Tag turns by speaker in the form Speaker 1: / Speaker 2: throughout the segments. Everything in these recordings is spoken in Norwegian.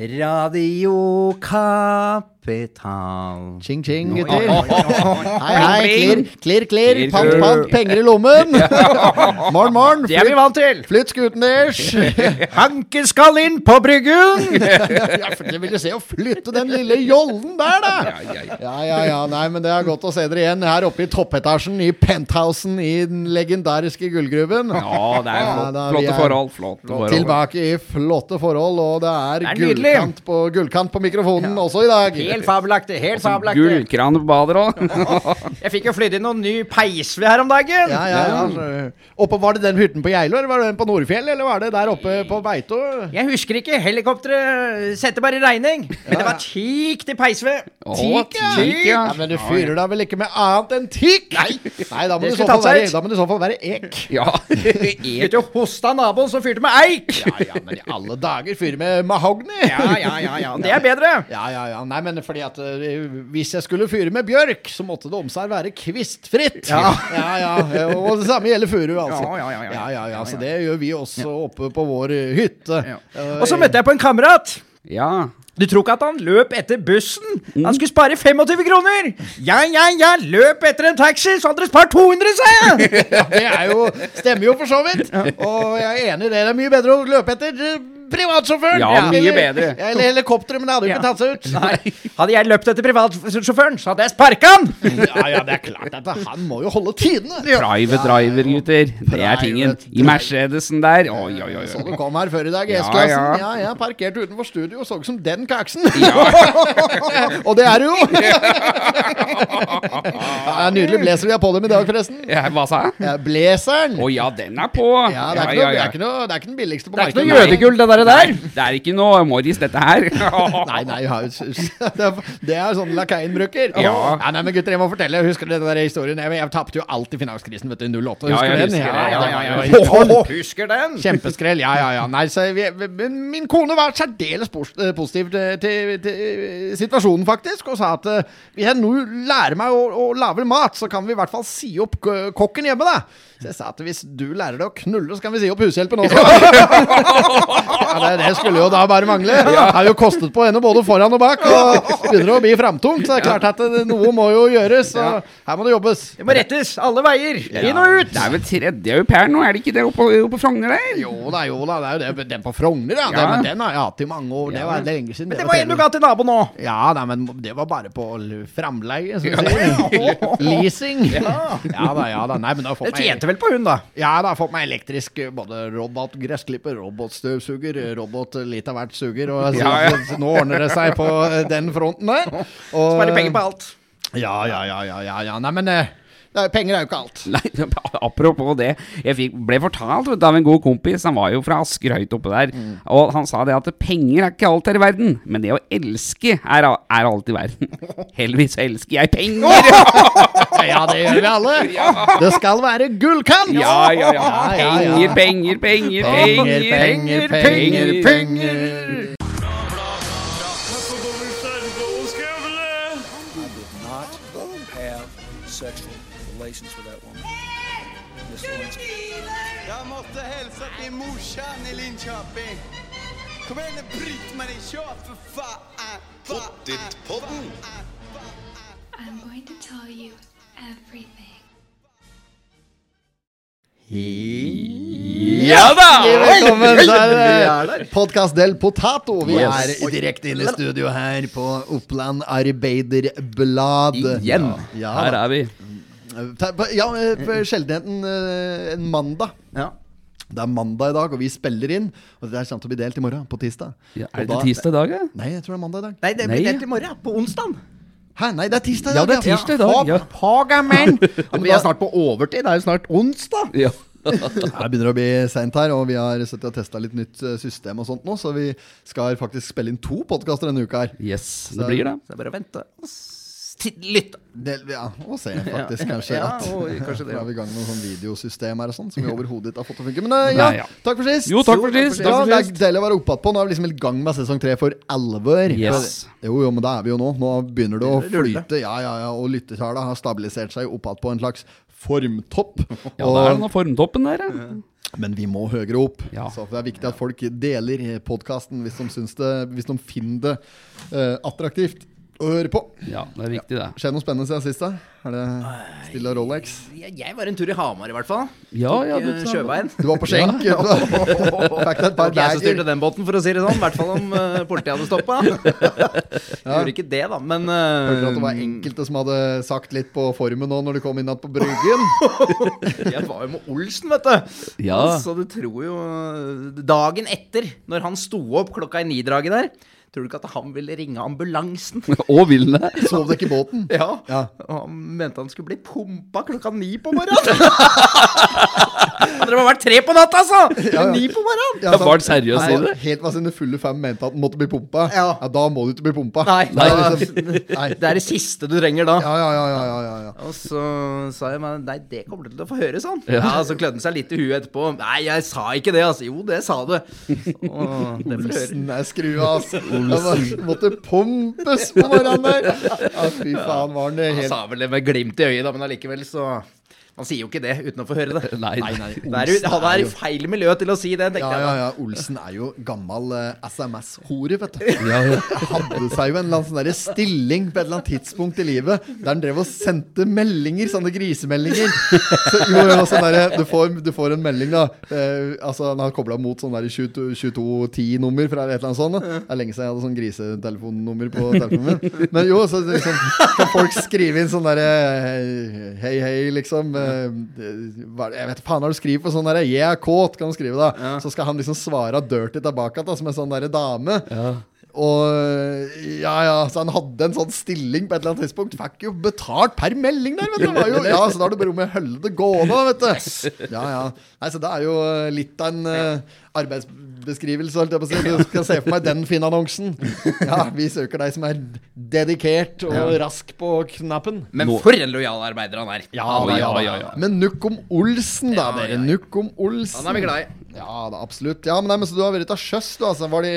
Speaker 1: Radio Kapital.
Speaker 2: Ching, ching, gutter. Hei, hei. Klirr, klirr, klirr. Pant, pant. Penger i lommen. Morn, morn.
Speaker 1: Det er vi
Speaker 2: Flytt,
Speaker 1: vant til!
Speaker 2: flytt skutenders.
Speaker 1: Hanke skal inn på bryggen!
Speaker 2: Ja, for det vil jo se å flytte den lille jollen der, da. Ja, ja, ja. Nei, men det er godt å se dere igjen her oppe i toppetasjen i penthousen i den legendariske gullgruven.
Speaker 3: Ja, det er
Speaker 2: Ja,
Speaker 3: flott,
Speaker 2: da, vi
Speaker 3: flotte
Speaker 2: er
Speaker 3: forhold. Flotte forhold.
Speaker 2: Tilbake i flotte forhold, og det er,
Speaker 1: Det er nydelig.
Speaker 2: gullkant, på, gullkant på mikrofonen også i dag.
Speaker 1: Helt fabelaktig. helt fabelaktig.
Speaker 3: Gullkran på badet òg.
Speaker 1: Jeg fikk jo flydd inn noen ny peisved her om dagen.
Speaker 2: Ja, ja, ja. så- Oppe, var det den hytten på Geilo, eller var det den på Nordfjell, eller var det der oppe på Beito?
Speaker 1: Jeg husker ikke. Helikopteret sendte bare regning. Men det var teak til peisved.
Speaker 3: Tikk, ja. Tikk, ja.
Speaker 2: Ja, men du fyrer da vel ikke med annet enn tikk? Nei, Nei da, må
Speaker 1: Det
Speaker 2: du i så
Speaker 1: skulle
Speaker 2: fall
Speaker 1: tatt seg
Speaker 2: være,
Speaker 1: ut.
Speaker 2: da må du i så fall være ek.
Speaker 3: Ja.
Speaker 1: Begynte å hoste av naboen som fyrte med eik.
Speaker 2: Ja, ja, men i alle dager, fyr med mahogni!
Speaker 1: Ja, ja, ja, ja. Det er bedre.
Speaker 2: Ja, ja, ja. Nei, men fordi at eh, hvis jeg skulle fyre med bjørk, så måtte det om seg være kvistfritt. Ja, ja. ja. Og det samme gjelder furu, altså.
Speaker 1: Ja, ja, ja, ja.
Speaker 2: Så det gjør vi også oppe på vår eh, hytte. Eh,
Speaker 1: Og så møtte jeg på en kamerat.
Speaker 3: ja.
Speaker 1: Du tror ikke at han løp etter bussen? Han skulle spare 25 kroner! Ja, ja, ja, løp etter en taxi, så hadde dere spart 200, sa jeg!
Speaker 2: ja, det er jo, stemmer jo for så vidt. Og jeg er enig i det. Det er mye bedre å løpe etter eh, privatsjåføren.
Speaker 3: Ja, mye bedre.
Speaker 2: Eller, eller helikopteret, men det hadde jo
Speaker 1: Ja.
Speaker 2: ikke tatt seg ut.
Speaker 1: Nei. Hadde jeg løpt etter privatsjåføren, så hadde jeg sparka han!
Speaker 2: Ja, ja, det er klart at han må jo holde tidene.
Speaker 3: Private driver, gutter. Det er tingen. I Mercedesen der. Oi, oi, oi.
Speaker 2: Så du kom her før i dag,
Speaker 3: Ja,
Speaker 2: S-klassen. Ja,
Speaker 3: ja.
Speaker 2: ja. parkert utenfor studio og så ut som den kaksen. og det er du jo! ja, nydelig blazer vi har på dem i dag, forresten.
Speaker 3: Ja, hva sa jeg?
Speaker 2: Ja, blazeren.
Speaker 3: Å ja, den er på.
Speaker 2: Ja, det er, ikke noe, det, er ikke noe, det er ikke den billigste på
Speaker 1: Det er ikke
Speaker 2: markedet.
Speaker 1: noe jødegull, det der. der.
Speaker 3: Det er ikke noe Morris, dette her.
Speaker 2: Nei, nei, ja, s- s- det er- det er sånn lakeien bruker.
Speaker 3: Ja.
Speaker 2: Nei, men gutter, jeg må fortelle. Husker dere den der historien? Jeg, jeg tapte jo alt i finanskrisen, vet du. 08. Husker du
Speaker 3: Ja, jeg
Speaker 2: den?
Speaker 3: husker det. Ja, ja, ja.
Speaker 2: det var-
Speaker 1: Husker den?
Speaker 2: Kjempeskrell, ja, ja, ja. Nei, så vi, men min kone var særdeles pos- eh, positiv til, til, til eh, situasjonen, faktisk, og sa at eh, hvis jeg nå lærer meg å, å lage mat, så kan vi i hvert fall si opp k- kokken hjemme, da. Så jeg sa at hvis du lærer deg å knulle, så kan vi si opp hushjelpen også. ja, det, det skulle jo da bare mangle. Det har jo kostet på henne både foran og bak, og begynner å bli framtungt, så det er klart at eh, noe må jo gjøres, og her må det jobbes.
Speaker 1: Det må rettes alle veier. Inn og ut.
Speaker 3: Det er vel tredje au pair nå, er det ikke det oppe, oppe på Frogner der?
Speaker 2: Jo da, jo da. Det er jo det, den på Frogner, ja.
Speaker 3: Ja.
Speaker 2: Den, den har jeg hatt i mange år. Det var lenge siden.
Speaker 1: Men det var en du ga til naboen òg.
Speaker 2: Ja, nei, men det var bare på l- framleie, som du sier. Leasing. Ja. da, ja da. Nei, men da
Speaker 1: Det
Speaker 2: fått meg
Speaker 1: tjente vel på hun, da.
Speaker 2: ja, da har jeg fått meg elektrisk eh, både robotgressklipper, robotstøvsuger, robot eh, litt av hvert suger, og så,
Speaker 3: Ja, ja.
Speaker 2: så, nå ordner det seg på eh, den fronten der. Og,
Speaker 1: Sparer penger på alt.
Speaker 2: Ja, ja, ja, ja, ja, ja. Nei, men eh, det er- penger er jo ikke alt.
Speaker 3: Nei, apropos det. Jeg fikk, ble fortalt vet du, av en god kompis, han var jo fra Asker høyt oppe der, og han sa det at penger er ikke alt her i verden, men det å elske er, a- er alt i verden. Heldigvis elsker jeg penger!
Speaker 2: Ja, det gjør vi alle. Det skal være gullkant!
Speaker 3: Ja, ja,
Speaker 2: Ja,
Speaker 3: ja.
Speaker 2: ja, ja.
Speaker 3: Penger, penger, penger, penger,
Speaker 2: penger, penger, penger.
Speaker 4: not have sexual relations with that woman. Miss Lewinsky.
Speaker 5: Jeg måtte hilse til morsan i Linköping. Kom igjen, Britt-Marie, kjør, for faen! Pottit-podden!
Speaker 6: I'm going to tell you everything.
Speaker 3: Ja da!
Speaker 2: Velkommen
Speaker 1: er
Speaker 2: til eh,
Speaker 1: der.
Speaker 2: Podcast del Potato. Vi
Speaker 3: Yes.
Speaker 2: er direkte inne i studio her på Oppland Arbeiderblad.
Speaker 3: Igjen.
Speaker 2: Ja,
Speaker 3: Her
Speaker 2: ja,
Speaker 3: er vi.
Speaker 2: Ta- på- ja eh, på sjeldenheten eh, en mandag.
Speaker 1: Ja.
Speaker 2: Det er mandag i dag, og vi spiller inn. Og det er sant å bli delt i morgen, på tirsdag.
Speaker 3: Ja,
Speaker 2: Og
Speaker 3: er det
Speaker 2: da-
Speaker 3: tirsdag i dag, ja?
Speaker 2: Nei, jeg tror det er mandag i dag.
Speaker 1: Nei, det
Speaker 3: Nei,
Speaker 1: blir
Speaker 3: ja.
Speaker 1: delt i morgen. På onsdag.
Speaker 2: Hæ, nei, det er tirsdag i
Speaker 3: Ja,
Speaker 2: dag.
Speaker 3: det er tirsdag i dag,
Speaker 2: Hop-
Speaker 3: ja.
Speaker 2: Poga, men. Ja, men
Speaker 7: Vi
Speaker 2: da-
Speaker 7: er snart på overtid. Det er jo snart onsdag.
Speaker 3: Ja.
Speaker 2: Ja, Det begynner å bli seint her, og vi har sett og testa litt nytt eh, system og sånt nå, så vi skal faktisk spille inn to podkaster denne uka her.
Speaker 3: Yes, det blir det.
Speaker 1: Så det er bare å vente og s- lytte.
Speaker 2: Det, ja, og se, faktisk. Kanskje
Speaker 1: Ja,
Speaker 2: at
Speaker 1: og kanskje det,
Speaker 2: Da
Speaker 1: ja.
Speaker 2: er vi i gang med noen sånn videosystem her og sånn, som vi overhodet ikke har fått til å funke. Men eh, ja,
Speaker 3: Nei, ja.
Speaker 2: takk for sist.
Speaker 3: Jo, takk for sist.
Speaker 2: Ja,
Speaker 3: Takk for
Speaker 2: det er
Speaker 3: sist.
Speaker 2: deilig å være oppe på. Nå er vi liksom i gang med sesong tre for alvor.
Speaker 3: Yes.
Speaker 2: Jo, jo, men det er vi jo nå. Nå begynner det å
Speaker 1: ruller.
Speaker 2: flyte. Ja, ja, ja. Og lyttertallet har stabilisert seg opp igjen på en slags formtopp.
Speaker 3: Ja, da er det noe formtoppen der, ja.
Speaker 2: Men vi må høyere opp.
Speaker 3: Ja.
Speaker 2: Så det er viktig at folk deler podkasten hvis, de syns det- hvis de finner det eh, attraktivt å høre på.
Speaker 3: Ja, det er viktig, det.
Speaker 2: Skjer noe spennende siden sist? da? Er det stille Rolex?
Speaker 8: Jeg, jeg var en tur i Hamar, i hvert fall.
Speaker 3: Ja, ja,
Speaker 8: Eh,
Speaker 3: du
Speaker 8: Sjøbein.
Speaker 2: Du var på skjenk? Ja. Fikk deg et par
Speaker 8: Det var ikke jeg som
Speaker 2: dager.
Speaker 8: styrte den båten, for å si det sånn. I hvert fall om eh, politiet hadde stoppa. Gjorde ikke det, da, men eh,
Speaker 2: Hørte at det var enkelte som hadde sagt litt på formen nå når de kom inn igjen på bryggen.
Speaker 8: Jeg var jo med Olsen, vet du.
Speaker 3: Ja.
Speaker 8: Så du tror jo Dagen etter, når han sto opp klokka i ni-draget der, tror du ikke at han ville ringe ambulansen?
Speaker 3: Og Vilne.
Speaker 2: Sov dere ikke i båten?
Speaker 8: Ja.
Speaker 2: Ja.
Speaker 8: Og han mente han skulle bli pumpa klokka ni på morgenen. Hadde det bare vært tre på natta, altså!
Speaker 2: ja.
Speaker 8: Ni på morgenen.
Speaker 2: Ja,
Speaker 3: Det
Speaker 2: sant.
Speaker 3: var seriøst i
Speaker 2: Han
Speaker 3: det.
Speaker 2: var Helt var sine fulle fem mente at den måtte bli pumpa. Ja.
Speaker 8: Ja.
Speaker 2: Da må du ikke bli pumpa.
Speaker 8: Nei,
Speaker 2: Nei,
Speaker 8: da-
Speaker 2: liksom, nei.
Speaker 8: Det er det siste du trenger da.
Speaker 2: Ja, ja, ja, ja, ja, ja, ja.
Speaker 8: Og så sa jeg meg, nei, det kommer du til å få høre, sånn. Ja, Så klødde han seg litt i huet etterpå. Nei, jeg sa ikke det, altså. Jo, det sa du. Og det får du høre.
Speaker 2: Olsen er skrua, ass. Han var- måtte pumpes på morgenen der. Ja, fy faen, var den
Speaker 8: Han
Speaker 2: helt
Speaker 8: sa vel det med glimt i øyet, da, men allikevel så Man sier jo ikke det uten å få høre det.
Speaker 3: Nei,
Speaker 8: Det er, jo- han er i feil miljø til å si det, tenkte
Speaker 2: Ja,
Speaker 8: jeg.
Speaker 2: ja,
Speaker 8: da.
Speaker 2: ja. Olsen er jo gammel eh, SMS-hore, vet du. Hadde seg jo en eller annen sånn der stilling på et eller annet tidspunkt i livet der han drev og sendte meldinger, sånne grisemeldinger. Så, jo, jo, sånn der, du, får, du får en melding, da. Eh, altså, Han har kobla mot sånn 2210-nummer fra et eller annet sånt. Da. Det er lenge siden jeg hadde sånn grisetelefonnummer på telefonen min. Men jo, så liksom, kan folk skrive inn sånn derre Hei, hei, liksom. eh, hva er det- Jeg vet faen hva du skriver på sånn derre Jeg er kåt, kan du skrive da. Så skal han liksom svare dirty tilbake da, som en sånn derre dame. Og ja, ja, så han hadde en sånn stilling på et eller annet tidspunkt. Fikk jo betalt per melding der, vet du. Det Var jo, ja, så da har du bare med å holde det gående, vet du. Ja, ja. Nei, så det er jo eh, litt av en eh, arbeidsbeskrivelse, holdt jeg på å si. Du skal se for meg den Finn-annonsen. Ja, vi søker deg som er dedikert og rask på knappen.
Speaker 8: Men for en lojal arbeider han er.
Speaker 2: Ja, da, ja, da, ja, ja. Men nukk om Olsen, da,
Speaker 8: Ja,
Speaker 2: dere.
Speaker 8: ja, ja.
Speaker 2: Nukk om Olsen.
Speaker 8: Han er vi glad i.
Speaker 2: Ja da, absolutt. Ja, men, nei, men Så du har vært av sjøs, du, altså? Var de,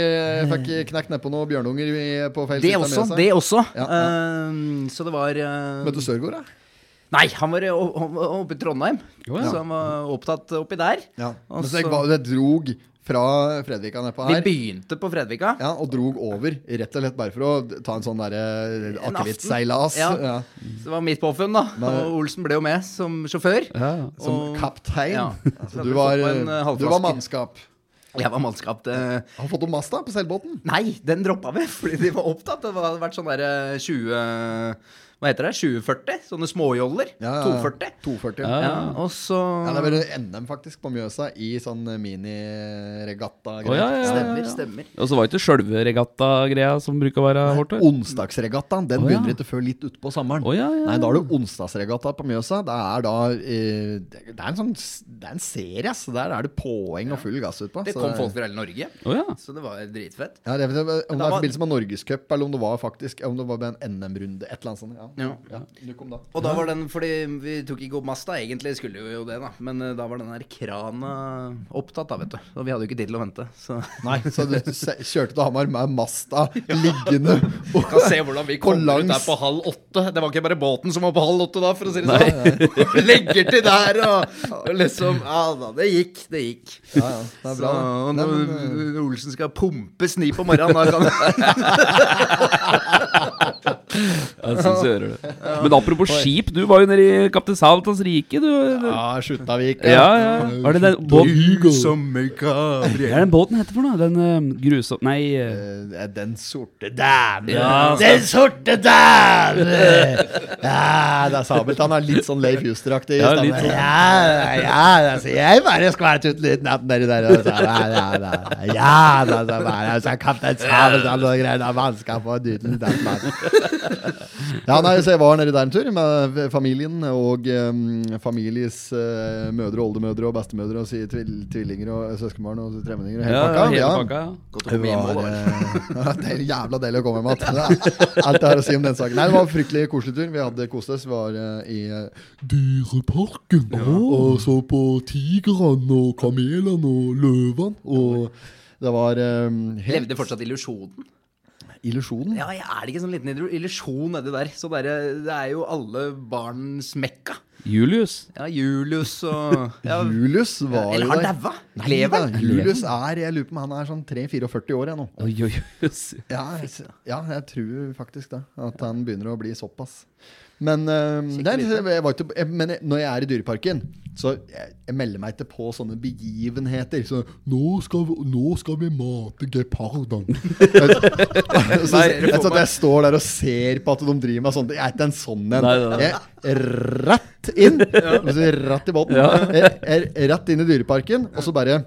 Speaker 2: fikk knekt nedpå noen bjørnunger i, på feil
Speaker 8: Det
Speaker 2: side av
Speaker 8: også.
Speaker 2: Mjøsa?
Speaker 8: Det også.
Speaker 2: Ja,
Speaker 8: Ehm, så det var eh,
Speaker 2: Møtte Sørgaard, da?
Speaker 8: Nei, han var eh, o- o- oppe i Trondheim. Så han var opptatt oppi der.
Speaker 2: Ja.
Speaker 8: Og
Speaker 2: Men så jeg,
Speaker 8: så-
Speaker 2: var- jeg drog fra Fredvika nedpå
Speaker 8: Altså- Vi
Speaker 2: her.
Speaker 8: begynte på Fredvika.
Speaker 2: Ja, og drog over, rett og slett bare for å ta en sånn derre
Speaker 8: En aften.
Speaker 2: akevittseilas. Ja.
Speaker 8: Ja. Så det var mitt påfunn, da. Og Olsen ble jo med som sjåfør.
Speaker 2: Som
Speaker 8: Og-
Speaker 2: kaptein.
Speaker 8: Ja.
Speaker 2: Altså, du, var,
Speaker 8: Fått på en, eh, halvflaske.
Speaker 2: du var mannskap.
Speaker 8: Jeg var mannskap. Det
Speaker 2: Har fått om masta på seilbåten?
Speaker 8: Nei, den droppa vi fordi de var opptatt. Det hadde vært sånn der eh, 20 Hva heter det? 2040? Sånne småjoller.
Speaker 2: Ja, ja, ja.
Speaker 8: 240.
Speaker 2: 240.
Speaker 8: Ja, og så
Speaker 2: Ja, det var NM faktisk på Mjøsa i sånn miniregatta.
Speaker 3: Å, ja, ja, ja, ja.
Speaker 8: Stemmer, stemmer.
Speaker 3: Og så var det ikke sjølve regattagreia som bruker å være hardt der.
Speaker 2: Onsdagsregattaen den
Speaker 3: Å, ja.
Speaker 2: begynner ikke før litt utpå sommeren.
Speaker 3: Å, ja, ja, ja.
Speaker 2: Nei, Da er det onsdagsregatta på Mjøsa. Det er da eh, Det er en sånn Det er en serie, ass. Der er det poeng og full gass utpå.
Speaker 8: Det
Speaker 2: så-
Speaker 8: kom folk fra hele Norge,
Speaker 3: Å Oh. ja.
Speaker 8: så det var dritfett.
Speaker 2: Ja, det, om det er
Speaker 8: da
Speaker 2: i
Speaker 8: var-
Speaker 2: forbindelse med Norgescup, eller om det var faktisk Om det var med en NM-runde, et eller annet sånt. Ja.
Speaker 8: Ja.
Speaker 2: Ja, du kom da.
Speaker 8: Og da var den fordi vi tok ikke opp masta, egentlig skulle vi jo det, da. Men eh, da var den der krana opptatt, da, vet du. Og vi hadde jo ikke tid til å vente, så
Speaker 2: Nei, så du se- kjørte til Hamar med Masta liggende og
Speaker 8: Kan se hvordan vi
Speaker 2: Hvor
Speaker 8: kommer ut
Speaker 2: langs-
Speaker 8: der på halv åtte. Det var ikke bare båten som var på halv åtte da, for å si det sånn. Legger til der og, og liksom Ja da, det gikk, det gikk.
Speaker 2: Ja, ja, det er bra.
Speaker 8: Så, og
Speaker 2: Nei,
Speaker 8: når
Speaker 2: men, eh,
Speaker 8: Olsen skal pumpes ni på morgenen, da kan
Speaker 3: Jeg synes jeg hører det. Men apropos skip, du var jo nede i Kaptein Sabeltanns rike, du.
Speaker 2: ja, Skjuttavik.
Speaker 3: Ja, ja. Hva er det den båten
Speaker 8: Sommerkabler.
Speaker 3: Hva er den båten heter for noe? Den eh, grusom... Nei. eh,
Speaker 2: Eh, Den sorte dæven
Speaker 3: Ja. altså.
Speaker 2: Den sorte dæven ja, Det er sabelt Han er litt sånn Leif Juster-aktig i
Speaker 3: Ja,
Speaker 2: stemmen.
Speaker 3: litt sånn.
Speaker 2: Ja, ja altså, Jeg bare skvært ut litt natten der, der og så, Ja, ja, ja, ja da, så, bare, altså, så kapten sabelt Han og greier av vannskap og duten den, mannen. Ja, nei, så jeg var nede der en tur med familien og eh, families eh, mødre, oldemødre og bestemødre og si, tvil, tvillinger og søskenbarn og tremenninger og Eh, hele
Speaker 3: Ja,
Speaker 2: pakka.
Speaker 3: ja, hele
Speaker 2: Ja. Det
Speaker 3: pakka. ja.
Speaker 2: var, eh, det er jævla deilig å komme hjem igjen. Alt jeg har å si om den saken. Nei, det var en fryktelig koselig tur. Vi hadde kost oss. Vi var eh, i eh, Dyreparken. Og så på tigrene og kamelene og løvene. Og det var eh, helt
Speaker 8: Levde fortsatt illusjonen.
Speaker 2: Illusjonen.
Speaker 8: Ja, ja, er det ikke sånn liten illu- illusjon nedi der? Så der, det er jo alle barns mekka.
Speaker 3: Julius.
Speaker 8: Ja, Julius og ja,
Speaker 2: Julius var
Speaker 8: Eller
Speaker 2: jo
Speaker 8: han
Speaker 2: der.
Speaker 8: daua?
Speaker 2: Nei
Speaker 8: Lever
Speaker 2: da,
Speaker 8: han?
Speaker 2: Julius er Jeg lurer på om han er sånn 3-44 år jeg, nå.
Speaker 3: Oi, oi, oi. s-
Speaker 2: Ja, jeg, ja, jeg tror faktisk det. At han begynner å bli såpass. Men, øhm, nei, jeg var ikke, jeg, men jeg, når jeg er i Dyreparken, så jeg, jeg melder meg ikke på sånne begivenheter. Så, nå, skal vi, 'Nå skal vi mate gepardene'. Så- så jeg, så at jeg står der og ser på at de driver med sånt. Jeg er ikke en sånn en.
Speaker 3: Nei, nei, nei.
Speaker 2: Jeg Rett inn! Altså, Rett i båten. Jeg, jeg, rett inn i Dyreparken, og så bare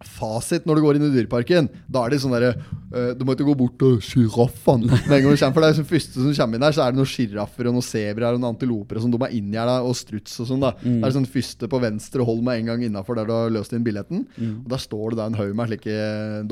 Speaker 2: Fasit når du går inn i Dyreparken, da er det sånn derre eh, Du må ikke gå bort til sjiraffen. Med en gang du kommer, for det er sånn første som kommer inn der, så er det noen sjiraffer og noen sebraer og noen antiloper og sånn. De er inngjerda, og struts og sånn. da
Speaker 3: Mm.
Speaker 2: Det er sånn første på venstre, hold meg en gang innafor der du har løst inn billetten.
Speaker 3: Mm.
Speaker 2: Og der står det da en haug med slike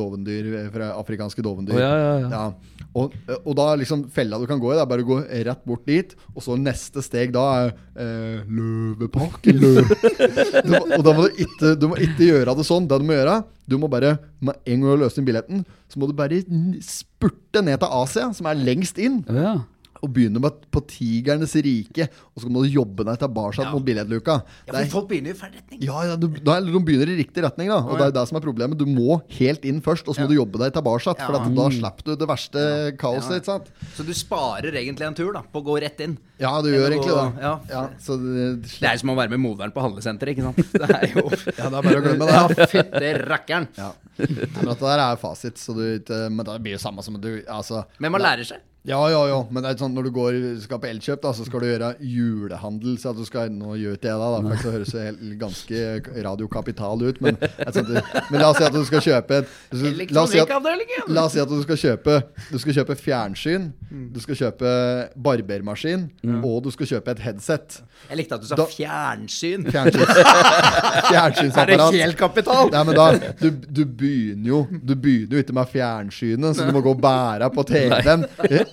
Speaker 2: dovendyr eh, fra afrikanske dovendyr.
Speaker 3: Å, ja, ja, ja.
Speaker 2: Og, og da liksom fella du kan gå i, det er bare å gå rett bort dit, og så neste steg da er eh, Løveparken. Løve. Du må, og da må du ikke, du må ikke gjøre det sånn. Det du må gjøre, du må bare med en gang du har løst inn billetten, så må du bare n- spurte ned til Asia, som er lengst inn,
Speaker 3: Å, ja.
Speaker 2: og begynne med på tigernes rike, og så må du jobbe deg tilbake mot billettluka.
Speaker 8: Ja,
Speaker 2: Det er
Speaker 8: for folk begynner jo i feil retning.
Speaker 2: ja, ja du, da, eller de begynner i riktig retning, da. Og det er det som er problemet. Du må helt inn først, og så må du jobbe deg tilbake. For at da
Speaker 8: Mm.
Speaker 2: slipper du det verste kaoset. ikke sant?
Speaker 8: Så du sparer egentlig en tur da, på å gå rett inn.
Speaker 2: Ja, du
Speaker 8: Eller
Speaker 2: gjør egentlig
Speaker 8: gå-
Speaker 2: det.
Speaker 8: ja.
Speaker 2: så det,
Speaker 8: Det er som å være med moderen på handlesenteret, ikke sant? Det er jo
Speaker 2: ja, det er bare å glemme det.
Speaker 8: Ja, fytte rakkeren.
Speaker 2: Ja. Men dette der er fasit, så du ikke Men det blir jo samme som du altså,
Speaker 8: Men man lærer seg.
Speaker 2: Ja, ja, ja. Men det er sånn, når du går, skal på Elkjøp, da, så skal du gjøre julehandel. Så at du skal, nå gjør ikke jeg det, da, for så høres det helt, ganske radiokapital ut. Men, det er sånn, at du- men la oss si at du skal kjøpe et- du skal-
Speaker 8: sånn
Speaker 2: La oss si at,
Speaker 8: Elektronikkavdelingen!
Speaker 2: La oss si at du skal kjøpe Du skal kjøpe fjernsyn,
Speaker 8: Mm.
Speaker 2: du skal kjøpe barbermaskin, og du skal kjøpe et headset.
Speaker 8: Jeg likte at du sa
Speaker 2: Da-
Speaker 8: fjernsyn.
Speaker 2: Fjernsyns,
Speaker 8: Er
Speaker 2: fjernsynsapparat.
Speaker 8: det helt kapital?
Speaker 2: Nei, men da, du, du begynner jo Du begynner jo ikke med fjernsynet, så du må gå og bære på TV-en.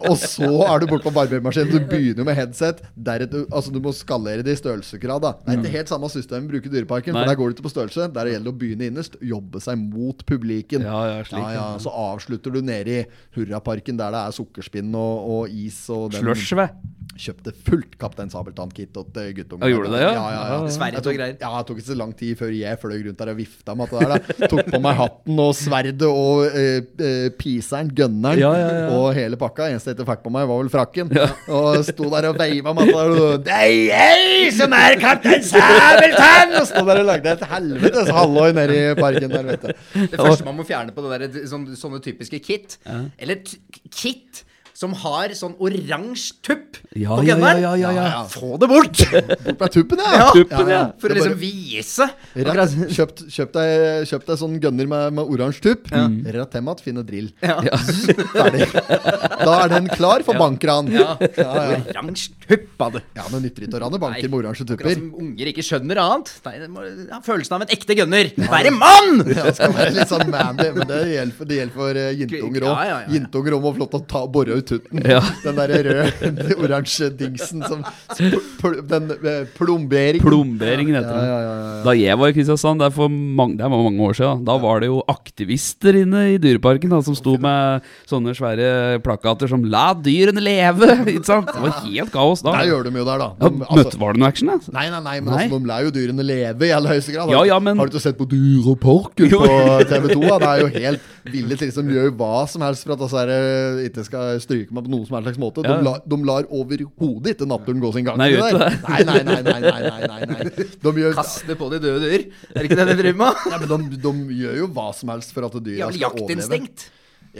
Speaker 2: Og så er du borte på barbermaskinen. Du begynner jo med headset. Deretter, altså Du må skalere det i størrelsesgrad. da. Det er ikke helt samme system vi bruker i Dyreparken.
Speaker 3: Nei.
Speaker 2: For der går det ikke på størrelse. Der gjelder det å begynne innerst, jobbe seg mot publiken.
Speaker 3: Ja, ja, slik,
Speaker 2: ja, ja. Så avslutter du nede i Hurraparken, der det er sukkerspinn og, og is. og den-
Speaker 3: Slush, ve.
Speaker 2: kjøpte fullt Kaptein Sabeltann-kit til guttungen.
Speaker 3: Ja, gjorde du det, ja?
Speaker 2: Ja, ja, ja.
Speaker 8: Sverd og
Speaker 2: Jeg tok-
Speaker 8: greier.
Speaker 2: Ja, det tok ikke så lang tid før jeg fløy rundt der og vifta med at det der. Da. Tok på meg hatten og sverdet og eh, eh, piseren, gønneren,
Speaker 3: Ja, ja, ja.
Speaker 2: og hele pakka. Eneste jeg ikke fikk på meg, var vel frakken. Og sto der og veiva med at det der, og, Det er jeg som er Kaptein Sabeltann! Og sto der og lagde et helvetes halloi nede i parken der, vet du.
Speaker 8: Det første man må fjerne på det der, sånn, sånne typiske kit, eller t kit som har sånn oransje tupp
Speaker 3: Ja,
Speaker 8: på
Speaker 3: ja,
Speaker 8: gunneren.
Speaker 3: ja, ja, ja, ja.
Speaker 8: Få det bort!
Speaker 2: Bort med tuppen, ja!
Speaker 8: Ja,
Speaker 3: Tuppen, ja.
Speaker 8: For å
Speaker 2: Det er
Speaker 8: liksom
Speaker 2: bare-
Speaker 8: vise.
Speaker 2: Rett, kjøpt, kjøpt, deg, kjøpt deg sånn gunner med, med oransje tupp. Rett hjem igjen, finn en drill.
Speaker 8: Mm. Ja.
Speaker 2: Ferdig. Da er den klar for bankran. Ja, ja.
Speaker 8: Oransje tupp av det.
Speaker 2: ja men nytter ikke å rane banker
Speaker 8: Nei,
Speaker 2: med oransje
Speaker 8: Akkurat
Speaker 2: tupper.
Speaker 8: som unger ikke skjønner annet. Nei, det må ha følelsen av en ekte gunner. Være mann!
Speaker 2: Ja, det skal være litt sånn mandy, men det gjelder for, det gjelder for eh, jintunger òg.
Speaker 8: Ja, ja, ja, ja.
Speaker 2: Jintunger òg må få lov til å ta, bore ut tutten.
Speaker 3: Ja.
Speaker 2: Den der røde, oransje dingsen som pl, pl, Den eh, plomberingen.
Speaker 3: Plomberingen heter
Speaker 2: ja,
Speaker 3: det.
Speaker 2: ja, ja, ja.
Speaker 3: Da jeg var i Kristiansand, det er, for mange, det er mange år siden, da, da var det jo aktivister inne i dyreparken da, som sto med sånne svære plakater som 'La dyrene leve'! ikke sant? Det var helt kaos da.
Speaker 2: Der
Speaker 3: Ja,
Speaker 2: gjør de jo der, da. altså, De,
Speaker 3: møtte, var det noe action, da?
Speaker 2: Nei, nei, nei, men
Speaker 3: Nei.
Speaker 2: Altså, de lar jo dyrene leve i aller høyeste grad.
Speaker 3: Ja, ja, men-
Speaker 2: Har du ikke sett på Dyreparken på TV2? Da? Det er jo helt ville til som gjør hva som helst for at disse her, eh, ikke skal stryke meg på noen som helst slags måte.
Speaker 3: Ja.
Speaker 2: De, la, de lar overhodet ikke naturen gå sin gang.
Speaker 3: Nei,
Speaker 2: til
Speaker 3: gjør
Speaker 2: der.
Speaker 3: ikke det.
Speaker 2: nei, nei, nei, nei, nei, nei, nei. De gjør,
Speaker 8: Kaste på de døde dyr. Er det ikke det de driver med?
Speaker 2: ja, men de, de gjør jo hva som helst for at dyra
Speaker 8: Jævlig
Speaker 2: skal overleve.
Speaker 8: jaktinstinkt.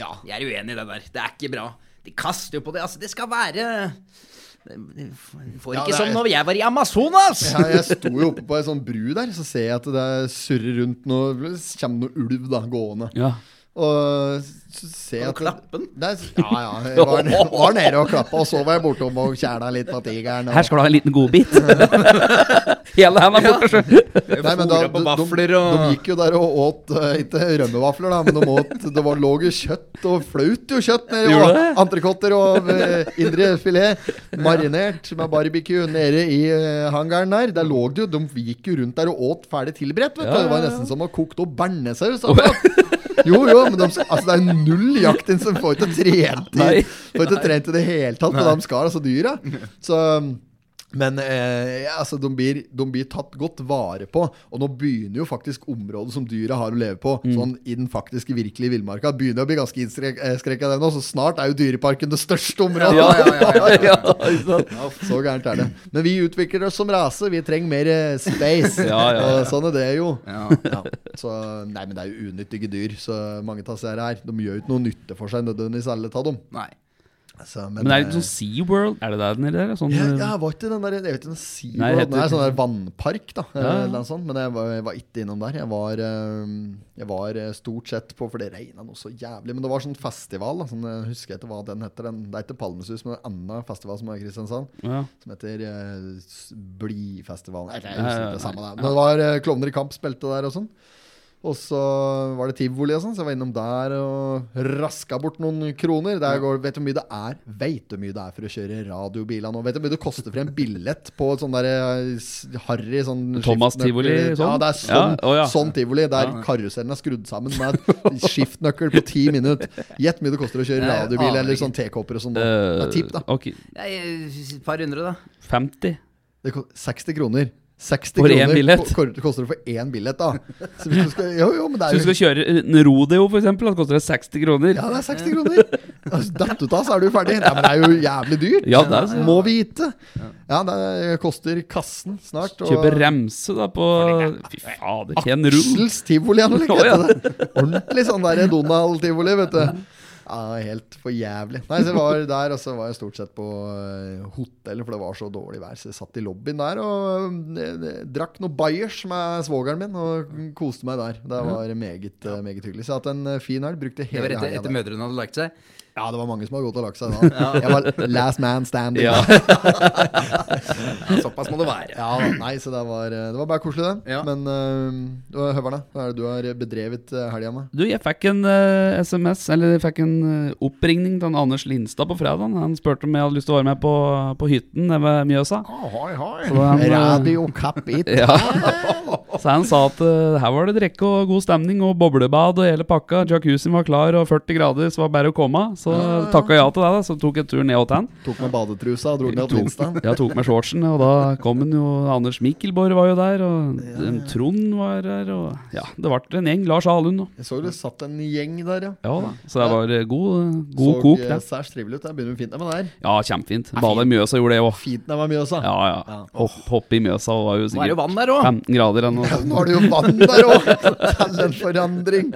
Speaker 2: Ja.
Speaker 8: Jeg er uenig i det der. Det er ikke bra. De kaster jo på det. Altså, det skal være Det Får
Speaker 2: Ja,
Speaker 8: ikke
Speaker 2: det er-
Speaker 8: som når jeg var i Amazonas!
Speaker 2: Ja, jeg sto jo oppe på ei sånn bru der, så ser jeg at det surrer rundt noe Kommer noe ulv da gående.
Speaker 3: Ja.
Speaker 2: Og så ser jeg
Speaker 8: Kan du klappe den?
Speaker 2: Nei, s- ja, ja. Jeg var, var nede og klappa, og så var jeg bortom og kjæla litt på tigeren.
Speaker 3: Her
Speaker 2: Og,
Speaker 3: skal du ha en liten godbit. Hele handa bort, kanskje.
Speaker 2: nei, men da,
Speaker 8: Fôret på
Speaker 2: de, de,
Speaker 8: vafler og-
Speaker 2: de gikk jo der og åt eh, ikke rømmevafler, da, men de åt Det var, lå jo kjøtt og flaut jo kjøtt nedi,
Speaker 3: Gjorde
Speaker 2: og
Speaker 3: det?
Speaker 2: entrecôter og eh, indre filet marinert med barbecue nede i eh, hangaren der. Der lå det jo De gikk jo rundt der og åt ferdig tilberedt, vet du.
Speaker 3: Ja,
Speaker 2: Det var
Speaker 3: ja, ja.
Speaker 2: nesten som å koke opp bearnéssaus. Jo, jo, men de, altså, det er null jaktin som får ikke trent i
Speaker 3: Nei.
Speaker 2: Får ikke trent i det hele tatt, men de skal altså dyra. Så um, Men eh, ja, altså, de, blir, de blir tatt godt vare på. Og nå begynner jo faktisk området som dyra har å leve på,
Speaker 8: Mm.
Speaker 2: sånn i den faktiske virkelige villmarka, begynner å bli ganske eh, innskrekka, den òg. Så snart er jo Dyreparken det største området.
Speaker 8: Ja, ja, ja, ja, ja.
Speaker 2: Så gærent er det. Men vi utvikler oss som rase. Vi trenger mer eh, space.
Speaker 3: Ja, ja, ja.
Speaker 2: Og Sånn er det jo. Ja. Så, nei, men det er jo unyttige dyr, så mange av disse her. De gjør jo ikke noe nytte for seg nødvendigvis, alle av dem.
Speaker 8: Nei.
Speaker 2: Så, eh,
Speaker 3: Men det er litt sånn SeaWorld, er det der nede der? Sånn,
Speaker 2: ja, ja, var ikke den der Jeg vet ikke, den SeaWorld
Speaker 3: Nei,
Speaker 2: Nei,
Speaker 3: det heter-
Speaker 2: er sånn der vannpark, da.
Speaker 3: ja.
Speaker 2: Eller noe sånt. Men jeg var, jeg var ikke innom der. Jeg var, eh, jeg var eh, stort sett på For det regna noe så jævlig. Men det var sånn festival. Da, sånn, jeg husker ikke hva den heter. Den, det er ikke Palmesus, men en annen festival som er i Kristiansand.
Speaker 3: Ja.
Speaker 2: Som heter eh, S- Blidfestivalen. Eller, Jeg
Speaker 3: Ja,
Speaker 2: husker
Speaker 3: ja,
Speaker 2: ikke
Speaker 3: ja.
Speaker 2: det samme. der. Men det var eh, Klovner i kamp spilte der og sånn. Og så var det tivoli og sånn, så jeg var innom der og raska bort noen kroner. Der går, vet du hvor mye det er Vet du hvor mye det er for å kjøre radiobiler nå? Vet du hvor mye det koster for en billett på et sånn der eh, s- harry sånn
Speaker 3: Thomas
Speaker 2: skiftenøkkel-
Speaker 3: Tivoli, sånn?
Speaker 2: Ja, det er sånn,
Speaker 3: Ja, å ja.
Speaker 2: sånn tivoli der karusellen er skrudd sammen med et skiftnøkkel på ti minutter. Gjett hvor mye det koster å kjøre radiobil eller sånn tekopper og sånn. nå.
Speaker 3: eh,
Speaker 2: Det er tipp, da.
Speaker 3: Ok,
Speaker 8: Nei, eh, Et par hundre, da.
Speaker 3: 50.
Speaker 2: Det ko- 60 kroner. 60
Speaker 3: For én
Speaker 2: kroner
Speaker 3: billett?
Speaker 2: ko- kor- koster det for én billett, da. Så hvis du skal, jo, jo, men det er
Speaker 3: Så du
Speaker 2: jo
Speaker 3: skal kjøre en rodeo, for eksempel, da koster det 60 kroner?
Speaker 2: Ja, det er 60 kroner. Altså, Datt ut av, så er du ferdig. Nei, men det er jo jævlig dyrt.
Speaker 3: Ja, det er så-
Speaker 2: Må vite. Ja, det koster kassen snart. og-
Speaker 3: Kjøpe remse, da, på Fy fader, Ken Ruhl.
Speaker 2: Aksels tivoli, han eller
Speaker 3: Å, ja.
Speaker 2: heter det. Ordentlig sånn der Donald-tivoli, vet du. Ja, helt for jævlig. Nei, så jeg var der, og så var jeg stort sett på eh, hotell, for det var så dårlig vær. Så jeg satt i lobbyen der og eh, drakk noe Bayers med svogeren min, og koste meg der. Det var meget, eh, meget hyggelig. Så jeg har hatt en eh, fin helg. Brukte
Speaker 8: Det
Speaker 2: hele
Speaker 8: var etter,
Speaker 2: helga
Speaker 8: etter
Speaker 2: der.
Speaker 8: mødrene hadde lagt seg.
Speaker 2: Ja, det var mange som har gått og lagt seg da. Jeg var last man standing.
Speaker 8: Ja.
Speaker 2: Ja.
Speaker 8: Såpass må det være.
Speaker 2: da, nei, så det var, eh, det var bare koselig, det.
Speaker 8: Ja.
Speaker 2: Men uh, Høverne, hva er det du har bedrevet eh, helga med?
Speaker 3: Du, jeg fikk en eh, SMS, eller jeg fikk en eh, oppringning til han Anders Lindstad på fredag. Han spurte om jeg hadde lyst til å være med på, på hytten nede ved Mjøsa. Så han, eh,
Speaker 2: Radio Kapital.
Speaker 3: Ja. Så han sa at eh, her var det drikke og god stemning og boblebad og hele pakka. Jacuzzien var klar og 40 grader, så var det bare å komme. Så takka jeg ja til det, da. Så tok jeg en tur ned til han.
Speaker 2: Tok med badetrusa og dro ned til Lindstad.
Speaker 3: Jeg tok med shortsen, og da kom han jo Anders Mikkelborg var jo der, og eh, Trond var der, og ja, det ble en gjeng. Lars Alund og
Speaker 2: Jeg så det satt en gjeng der, ja.
Speaker 3: Ja da. Så det var eh, god, god
Speaker 2: så
Speaker 3: kok,
Speaker 2: eh,
Speaker 3: det.
Speaker 2: særs trivelig ut. Det begynner fint der, men det er
Speaker 3: Ja, kjempefint. Bada i Mjøsa gjorde det òg.
Speaker 2: fint der med Mjøsa.
Speaker 3: Ja, ja. Hopp, hopp i Mjøsa og var jo
Speaker 8: Nå er det jo
Speaker 3: sikkert
Speaker 8: vann der òg.
Speaker 3: 15 grader eller noe.
Speaker 2: Nå er det jo vann der òg! Til en forandring.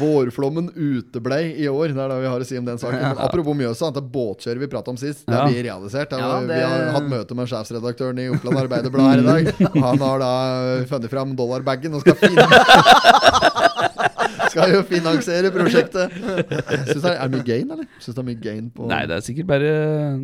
Speaker 2: Vårflommen uteblei i år. Det er det vi har å si om den saken. Men apropos Mjøsa, det båtkjøret vi pratet om sist, det
Speaker 3: Ja.
Speaker 2: blir realisert. Det
Speaker 8: Ja,
Speaker 2: var-
Speaker 8: det-
Speaker 2: Vi har hatt møte med sjefsredaktøren i Oppland Arbeiderblad her i dag. Han har da eh, funnet fram dollarbagen og skal finne Skal jo finansiere prosjektet. Synes det er, er det mye gain, eller? Syns det er mye gain på
Speaker 3: Nei, det er sikkert bare eh,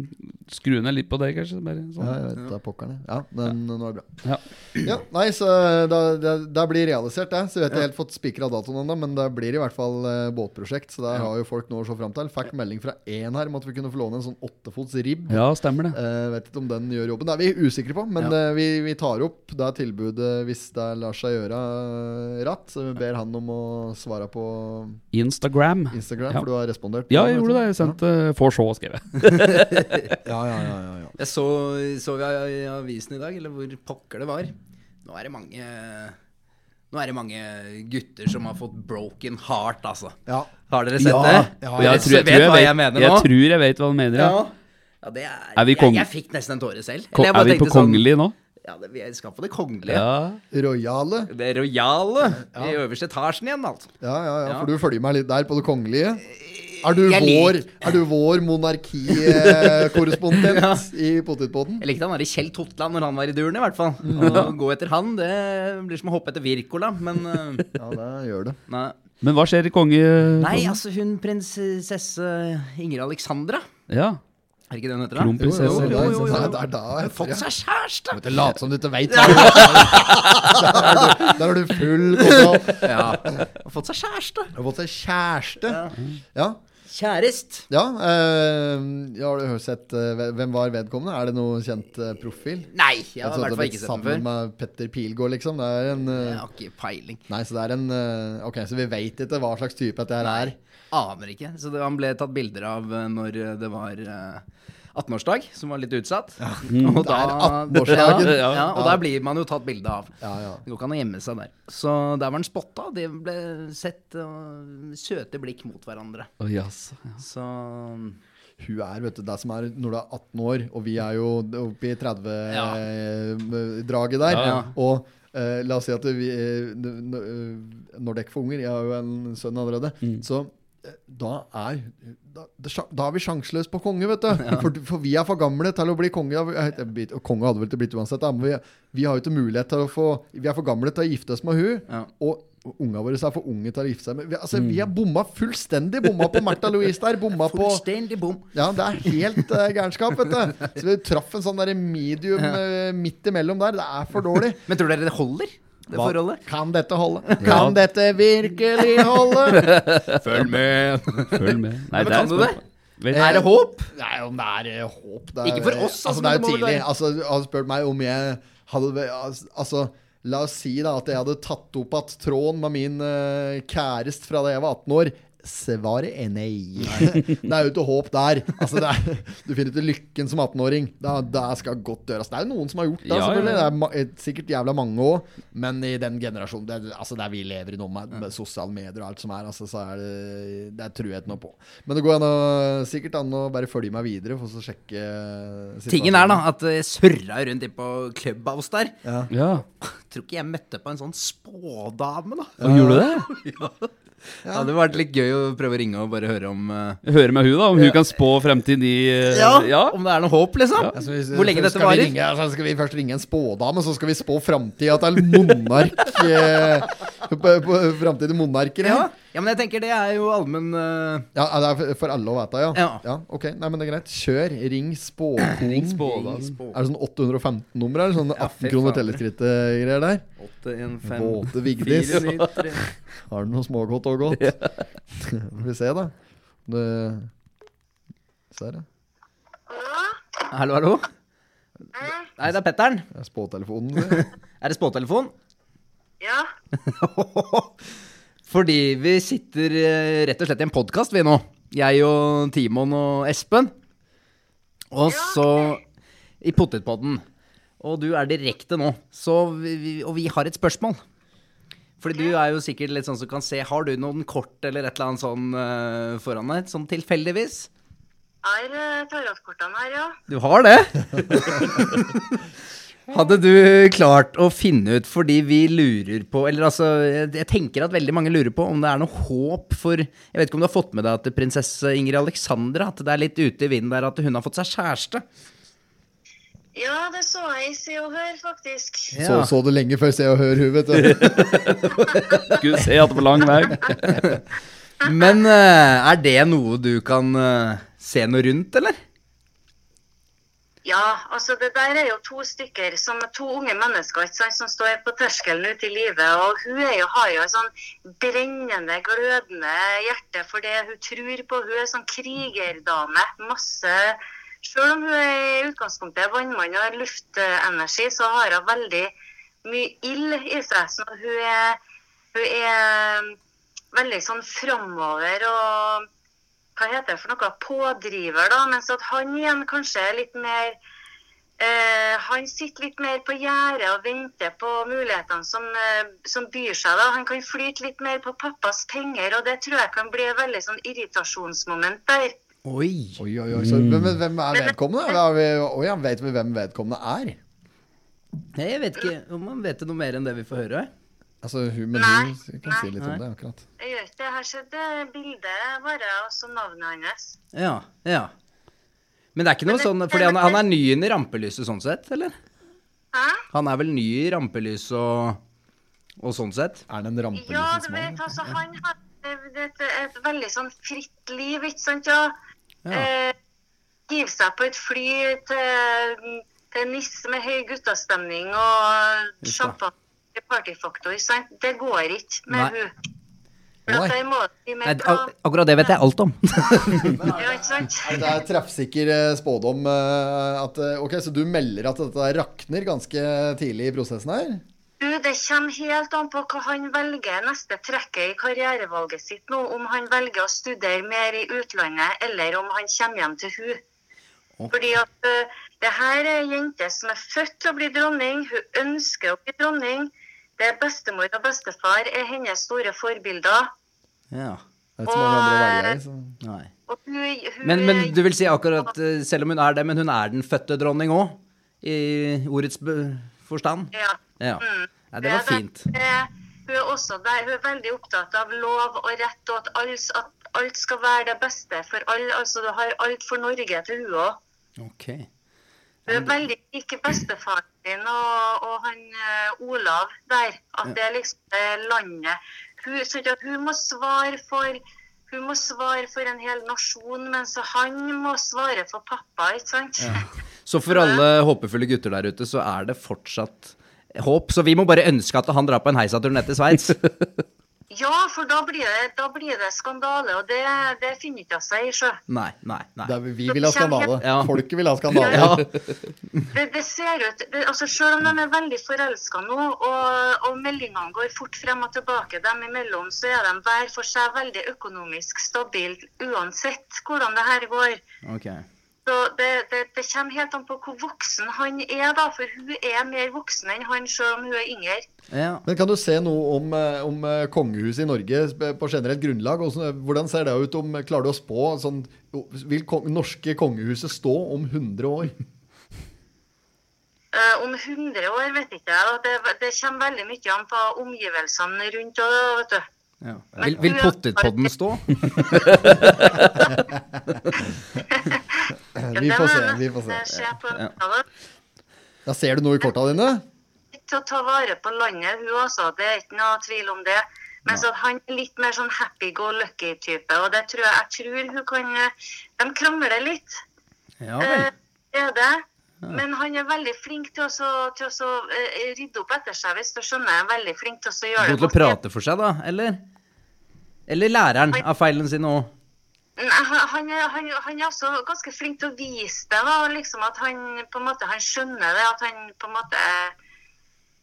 Speaker 3: skru ned litt på det, kanskje. Bare
Speaker 2: Ja,
Speaker 3: sånn.
Speaker 2: jeg vet det er pokkerne. Ja, men nå er det bra.
Speaker 3: Ja.
Speaker 2: Ja, nei, så da, da, da blir realisert det. Så vi har ikke helt fått spikra datoen ennå, men det blir i hvert fall eh, båtprosjekt. Så der har jo folk noe å se fram til. Fikk melding fra én her om at vi kunne få låne en sånn åttefots ribb.
Speaker 3: Ja, stemmer det.
Speaker 2: Eh, vet ikke om den gjør jobben. Det er vi usikre på, men eh, vi, vi tar opp det tilbudet hvis det lar seg gjøre eh, ratt. Så vi ber han om å svare på
Speaker 3: Instagram.
Speaker 2: Instagram,
Speaker 3: Ja.
Speaker 2: for du har respondert.
Speaker 3: Ja, jeg gjorde det. Jeg
Speaker 8: altså.
Speaker 3: sendte eh, Får se, skrev jeg.
Speaker 2: Ja, ja, ja, ja, ja.
Speaker 8: Jeg så, så vi i avisen i dag, eller hvor pokker det var. Nå er det mange Nå er det mange gutter som har fått broken heart, altså.
Speaker 2: ja.
Speaker 8: Har dere sett
Speaker 2: Ja,
Speaker 8: det?
Speaker 2: ja,
Speaker 3: Og jeg tror- jeg
Speaker 8: vet
Speaker 3: tror jeg
Speaker 8: hva
Speaker 3: vet-
Speaker 8: jeg mener nå.
Speaker 3: Jeg tror jeg vet hva du mener,
Speaker 8: ja.
Speaker 3: ja.
Speaker 8: ja, det er,
Speaker 3: Er vi kong-
Speaker 8: jeg, jeg fikk nesten en tåre selv.
Speaker 3: Ko-
Speaker 8: Eller jeg bare
Speaker 3: Er vi på
Speaker 8: tenkte sånn-
Speaker 3: kongelig nå?
Speaker 8: Ja, det, vi skal på det kongelige.
Speaker 3: Ja.
Speaker 2: Royale.
Speaker 8: Det rojale. I øverste etasjen igjen, altså.
Speaker 2: Ja, ja, ja,
Speaker 8: Ja.
Speaker 2: for du følger meg litt der på det kongelige. Er du
Speaker 8: jeg
Speaker 2: vår, er du vår monarkikorrespondent i Potetpodden?
Speaker 8: Jeg likte han der i Kjell Totland når han var i duren, i hvert fall. Å gå etter han, det blir som å hoppe etter Wirkola, men eh,
Speaker 2: Ja, det gjør det.
Speaker 8: Nei.
Speaker 3: Men hva skjer i konge...
Speaker 8: Nei, altså hun prinsesse Ingrid Alexandra.
Speaker 3: Ja.
Speaker 8: Er det ikke det hun heter? da?
Speaker 2: Jo,
Speaker 3: Kronprinsesse.
Speaker 2: jo,
Speaker 3: eller-
Speaker 2: jo,
Speaker 8: jo, jo.
Speaker 2: Det er- det er da jeg
Speaker 8: Fått seg kjæreste!
Speaker 2: Du later som du ikke veit hva du har. Der har du full kontroll.
Speaker 8: Ja. Har fått seg kjæreste.
Speaker 2: Du har fått seg kjæreste. Ja.
Speaker 8: Kjærest.
Speaker 2: ja eh, ja, har du sett eh, Hvem var vedkommende? Er det noe kjent eh, profil?
Speaker 8: Nei, jeg har i
Speaker 2: Altså,
Speaker 8: hvert fall
Speaker 2: det blitt
Speaker 8: ikke sett den
Speaker 2: Sammen
Speaker 8: før.
Speaker 2: med Petter Pilgaard, liksom. Det er en eh,
Speaker 8: Jeg har ikke peiling.
Speaker 2: Nei, så det er en eh, Ok, så vi veit ikke hva slags type dette her er.
Speaker 8: Aner ikke. Så det, han ble tatt bilder av eh, når eh, det var eh, 18-årsdag, som var litt utsatt. Og
Speaker 2: Det er
Speaker 8: da,
Speaker 2: 18-årsdagen.
Speaker 8: Ja, ja,
Speaker 2: Ja.
Speaker 8: og der blir man jo tatt bilde av.
Speaker 2: Ja, ja.
Speaker 8: Det går ikke an å gjemme seg der. Så der var den spotta. De ble sett og søte blikk mot hverandre.
Speaker 3: Å, jaså.
Speaker 8: Så
Speaker 2: Hun er, vet du, det som er når du er 18 år, og vi er jo oppe i 30-draget der.
Speaker 8: Ja.
Speaker 2: Og eh, la oss si at vi eh, n- n- eh, Når dere får unger, jeg har jo en sønn allerede,
Speaker 8: Mm.
Speaker 2: så eh, da er, da, det sja- da er vi sjanseløse på konge, vet du. For, for vi er for gamle til å bli konge. av- eh, det blir- og Konge hadde vel ikke blitt uansett, da, men vi, vi har jo ikke mulighet til å få Vi er for gamle til å gifte oss med hun.
Speaker 8: Ja. Mm.
Speaker 2: Og unga våre er for unge til å gifte seg med vi, altså, vi har bomma fullstendig. Bomma på Märtha Louise der. Bomma på
Speaker 8: fullstendig bom.
Speaker 2: ja, det er helt eh, gærenskap, vet du. Så vi traff en sånn der medium eh, midt imellom der. Det er for dårlig.
Speaker 8: Men tror dere det holder, det forholdet?
Speaker 2: Kan dette holde? Kan dette virkelig holde? Følg med!
Speaker 3: Følg med. Nei,
Speaker 8: Men kan du det?
Speaker 3: Vet,
Speaker 8: Er det håp?
Speaker 2: Nei, om det er eh, håp det er,
Speaker 8: Ikke for oss, altså,
Speaker 2: altså.
Speaker 8: men
Speaker 2: Det er
Speaker 8: det
Speaker 2: jo
Speaker 8: må vel
Speaker 2: tidlig.
Speaker 8: være-
Speaker 2: Altså, han spurte meg om jeg hadde Altså, la oss si da at jeg hadde tatt opp at tråden med min eh, kjæreste fra da jeg var 18 år. Svaret er nei. Det er jo ikke håp der. Altså, det er, du finner ikke lykken som 18-åring. Det, det skal godt gjøres. Det er jo noen som har gjort det,
Speaker 3: Ja, ja,
Speaker 2: selvfølgelig. Det
Speaker 3: ja.
Speaker 2: er ma eh, sikkert jævla mange òg. Men i den generasjonen det, altså, der vi lever i nå, med, med sosiale medier og alt som er, altså, så er det Det tror jeg ikke noe på. Men det går an å, sikkert an å bare følge meg videre for å sjekke eh, situasjonen.
Speaker 8: Tingen er da at jeg surra rundt inn på Clubhouse der.
Speaker 3: ja.
Speaker 8: Tror ikke jeg møtte på en sånn spådame, da.
Speaker 3: Og gjorde du det?
Speaker 8: Det hadde vært litt gøy å prøve å ringe og bare høre om eh,
Speaker 3: Høre med hun da, om hun kan spå fremtiden i eh, ja.
Speaker 8: Om det er noe håp, liksom.
Speaker 2: Altså, hvis-
Speaker 8: Hvor lenge
Speaker 2: skal
Speaker 8: dette
Speaker 2: vi
Speaker 8: varer.
Speaker 2: ringe- altså, skal vi først ringe en spådame, så skal vi spå framtida til monark eh, på- på- Framtid til monarker?
Speaker 8: Ja.
Speaker 2: Ja.
Speaker 8: ja, men jeg tenker det er jo allmenn eh,
Speaker 2: ja, det er for alle å vite, ja.
Speaker 8: Ja.
Speaker 2: Ok, Nei, men det er greit. Kjør. Ring spåkonen.
Speaker 3: Ring spådame.
Speaker 2: Er det sånn 815-nummer? Er det sånn
Speaker 8: Ja,
Speaker 2: 18
Speaker 8: fy
Speaker 2: kroner
Speaker 8: fader.
Speaker 2: telleskritt-greier der?
Speaker 8: Åtte, en, fem,
Speaker 2: Våte
Speaker 8: fire,
Speaker 2: Vigdis.
Speaker 8: ni, tre.
Speaker 2: Har du noe smågodt og godt? Får vi se, da. Det... Ser jeg.
Speaker 8: Hallo, hallo. Nei, det er Petter'n.
Speaker 2: Det er spåtelefonen. sier jeg.
Speaker 8: Er det spåtelefon?
Speaker 9: Ja,
Speaker 8: Fordi vi sitter eh, rett og slett i en podkast, vi nå. Jeg og Timon og Espen. Og så i Potetpodden. Og du er direkte nå. Så vi, vi, og vi har et spørsmål. Fordi du er jo sikkert litt sånn som kan se. Har du noen kort eller et eller annet sånn eh, foran deg? Sånn tilfeldigvis?
Speaker 9: er eh, tarotkortene her, ja.
Speaker 8: Du har det? Hadde du klart å finne ut, fordi vi lurer på Eller altså, jeg jeg tenker at veldig mange lurer på om det er noe håp for Jeg vet ikke om du har fått med deg at prinsesse Ingrid Alexandra At det er litt ute i vinden der at hun har fått seg kjæreste?
Speaker 9: Ja, det så jeg i Se og Hør, faktisk.
Speaker 2: Så så det lenge før Se og Hør hun, vet du.
Speaker 3: Skulle se at det var lang vei.
Speaker 8: Men eh, er det noe du kan eh, se noe rundt, eller?
Speaker 9: Ja, altså det der er jo to stykker, som er to unge mennesker ikke sant, som står på terskelen ute i livet. Og hun er jo, har jo et sånn brennende, glødende hjerte for det hun tror på. Hun er sånn krigerdame. Masse Selv om hun er i utgangspunktet er vannmann og har luftenergi, så har hun veldig mye ild i seg. Så hun er, hun er um, veldig sånn framover og hva heter det for noe, pådriver, da, mens at han igjen kanskje er litt mer eh, Han sitter litt mer på gjerdet og venter på mulighetene som, eh, som byr seg. da. Han kan flyte litt mer på pappas penger, og det tror jeg kan bli et veldig sånn irritasjonsmoment der.
Speaker 8: Oi.
Speaker 2: Oi, oi, oi. Så, men, men hvem er vedkommende? Da har vi, oi, ja, vet vi hvem vedkommende er?
Speaker 8: Jeg vet ikke om man vet noe mer enn det vi får høre.
Speaker 2: Altså, hun, men
Speaker 9: Nei.
Speaker 2: hun kan si litt om det, akkurat.
Speaker 9: Jeg gjør ikke det. Her ser det bildet bare, og så navnet hans.
Speaker 8: Ja, ja. Men det er ikke noe sånn Fordi han, han er ny inn i rampelyset sånn sett, eller?
Speaker 9: Hæ?
Speaker 8: Han er vel ny i rampelys og, og sånn sett.
Speaker 2: Er det en
Speaker 9: Ja,
Speaker 2: rampelysen
Speaker 9: du
Speaker 2: som
Speaker 9: vet,
Speaker 2: er
Speaker 9: altså han har levd et, et veldig sånn fritt liv, ikke sant? Ja. Eh, Give seg på et fly til, til Niss med høy guttastemning og
Speaker 8: Uff da.
Speaker 9: champagne i partyfaktor, ikke sant? Det går ikke med
Speaker 8: Nei.
Speaker 9: hun. For
Speaker 2: Oi.
Speaker 9: at det må bli
Speaker 8: Nei,
Speaker 9: mer
Speaker 8: det-
Speaker 9: plan,
Speaker 8: ak akkurat det vet jeg alt om.
Speaker 9: ja, ikke sant?
Speaker 2: Det er treffsikker eh, spådom eh, at eh, Ok, så du melder at dette der rakner ganske tidlig i prosessen her?
Speaker 9: Du, det kommer helt an på hva han velger neste trekket i karrierevalget sitt nå. Om han velger å studere mer i utlandet, eller om han kommer hjem til hun. Fordi at eh, det her er ei jente som er født til å bli dronning. Hun ønsker å bli dronning. Det er bestemor og bestefar er hennes store forbilder.
Speaker 8: Ja. eh,
Speaker 2: Det er ikke så mange andre veier. Så.
Speaker 8: Nei.
Speaker 9: Og eh, hun, hun
Speaker 8: Men, men du vil si akkurat, eh, selv om hun er det, men hun er den fødte dronning òg? I ordets be- forstand?
Speaker 9: Ja.
Speaker 8: Ja.
Speaker 9: Mm.
Speaker 8: Nei, det var
Speaker 9: er
Speaker 8: fint.
Speaker 9: Eh, Hun er også der, hun er veldig opptatt av lov og rett, og at alt, at alt skal være det beste for alle. Altså, du har alt for Norge til hun òg.
Speaker 8: Ok.
Speaker 9: Hun er veldig lik bestefaren din og, og han eh, Olav der. At det er liksom eh, landet. Hun, så ikke at hun må svare for hun må svare for en hel nasjon, mens han må svare for pappa, ikke sant?
Speaker 8: Så for alle håpefulle gutter der ute, så er det fortsatt håp. Så vi må bare ønske at han drar på en heisatur ned til Sveits.
Speaker 9: Ja, for da blir det, da blir det skandale, og det, det finner ikke seg i sjø.
Speaker 8: Nei, nei,
Speaker 2: Det
Speaker 8: nei.
Speaker 2: er, vi vil ha skandale.
Speaker 8: Ja.
Speaker 2: Folket vil ha skandale.
Speaker 8: Ja.
Speaker 9: Det, det ser ut, det, altså Selv om de er veldig forelska nå, og, og meldingene går fort frem og tilbake dem imellom, så er de hver for seg veldig økonomisk stabilt uansett hvordan det her går.
Speaker 8: Ok.
Speaker 9: Så det, det, det kommer helt an på hvor voksen han er, da, for hun er mer voksen enn han selv om hun er yngre.
Speaker 8: Ja.
Speaker 2: Men kan du se noe om, eh, om eh, kongehuset i Norge sp- på generelt grunnlag? Hvordan, hvordan ser det ut? om eh, Klarer du å spå? Sånn, jo, vil kong, norske kongehuset stå om 100 år?
Speaker 9: Eh, om 100 år vet ikke jeg. og Det, det kommer veldig mye an på omgivelsene rundt. Og, vet du.
Speaker 8: Ja. Vil, vil pottetpodden stå?
Speaker 2: Vi får se. vi får se.
Speaker 9: se på en
Speaker 2: Ja, ser du noe i korta dine?
Speaker 9: til å ta vare på landet, hun altså. Det er ikke noe tvil om det. Mens at han er litt mer sånn happy-go-lucky-type. Og det tror jeg, jeg tror hun kan eh, De krangler litt,
Speaker 8: Ja
Speaker 9: eh,
Speaker 8: vel.
Speaker 9: det er det. Men han er veldig flink til å, så- til å så, eh, rydde opp etter seg, hvis du skjønner. Han er Veldig flink til å så gjøre
Speaker 8: God
Speaker 9: det
Speaker 8: til å
Speaker 9: godt.
Speaker 8: prate for seg, da? Eller? Eller læreren av feilene sine òg?
Speaker 9: Nei, han, han, er- han, han er også ganske flink til å vise det. Da, og liksom at han på en måte han skjønner det. At han på en måte er,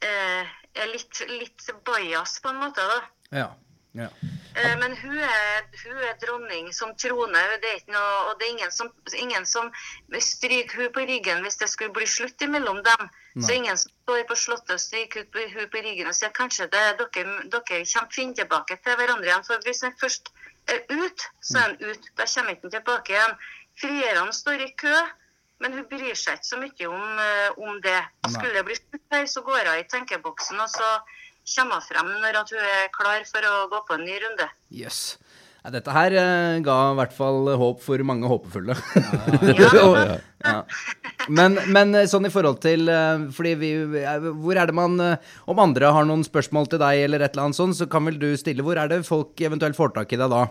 Speaker 9: eh, er litt, litt bajas, på en måte. da.
Speaker 8: Ja. ja.
Speaker 9: Eh, Men hun er, hun er dronning som trone, det er ikke noe, og det er ingen som, ingen som stryker hun på ryggen hvis det skulle bli slutt mellom dem. Så ingen som står på slottet og stryker hun på, hun på ryggen og sier kanskje det, dere, dere kommer fint tilbake til hverandre igjen. For hvis han først er ut, så er han ut. Da kommer han ikke tilbake igjen. Frierne står i kø, men hun bryr seg ikke så mye om, eh, om det. Skulle det bli slutt her, så går hun i tenkeboksen, og så kommer hun frem når at hun er klar for å gå på en ny runde.
Speaker 8: Jøss. Nei, Dette her eh, ga i hvert fall håp for mange håpefulle. Og- ja. Men, men eh, sånn i forhold til eh, Fordi vi eh, Hvor er det man eh, Om andre har noen spørsmål til deg, eller et eller annet sånt, så kan vel du stille Hvor er det folk eventuelt får tak i deg da?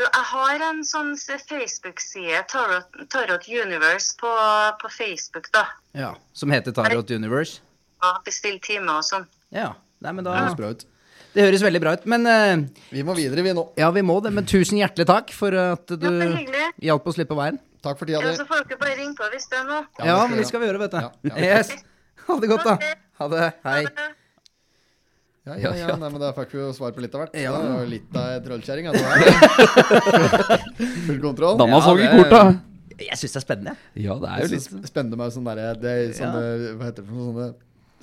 Speaker 9: Du, Jeg har en sånn Facebook-side, Tarot, Tarot Universe, på, på Facebook, da.
Speaker 8: Ja. Som heter Tarot Universe?
Speaker 9: Og bestill time og sånn.
Speaker 8: Ja. Nei, men
Speaker 2: Det
Speaker 8: da
Speaker 2: høres bra ut.
Speaker 8: Det høres veldig bra ut. Men eh,
Speaker 2: Vi må videre, vi nå.
Speaker 8: Ja, vi må det, men tusen hjertelig takk for at du
Speaker 9: Ja, det er hyggelig.
Speaker 8: hjalp oss litt på veien.
Speaker 2: Takk for tida
Speaker 9: Ja,
Speaker 2: di.
Speaker 9: så får dere bare ringe på hvis det er noe.
Speaker 8: Ja,
Speaker 2: det skal
Speaker 8: men
Speaker 2: vi
Speaker 8: det skal vi gjøre, vet du.
Speaker 2: Ja, ja.
Speaker 8: Yes. Ha det godt, da. Ha det. Hei.
Speaker 2: Ja, ja, ja. Nei, men da fikk vi jo svar på litt av hvert.
Speaker 8: Ja.
Speaker 2: Det var jo litt av ei trollkjerring. Altså. Full kontroll.
Speaker 3: Danna
Speaker 8: Ja,
Speaker 3: så i
Speaker 8: det-
Speaker 3: korta.
Speaker 8: Jeg syns det er spennende.
Speaker 3: Ja, det er jo
Speaker 2: Jeg
Speaker 3: litt
Speaker 2: synes det spennende med sånne der, det er sånne, Hva heter det for noe? Sånne,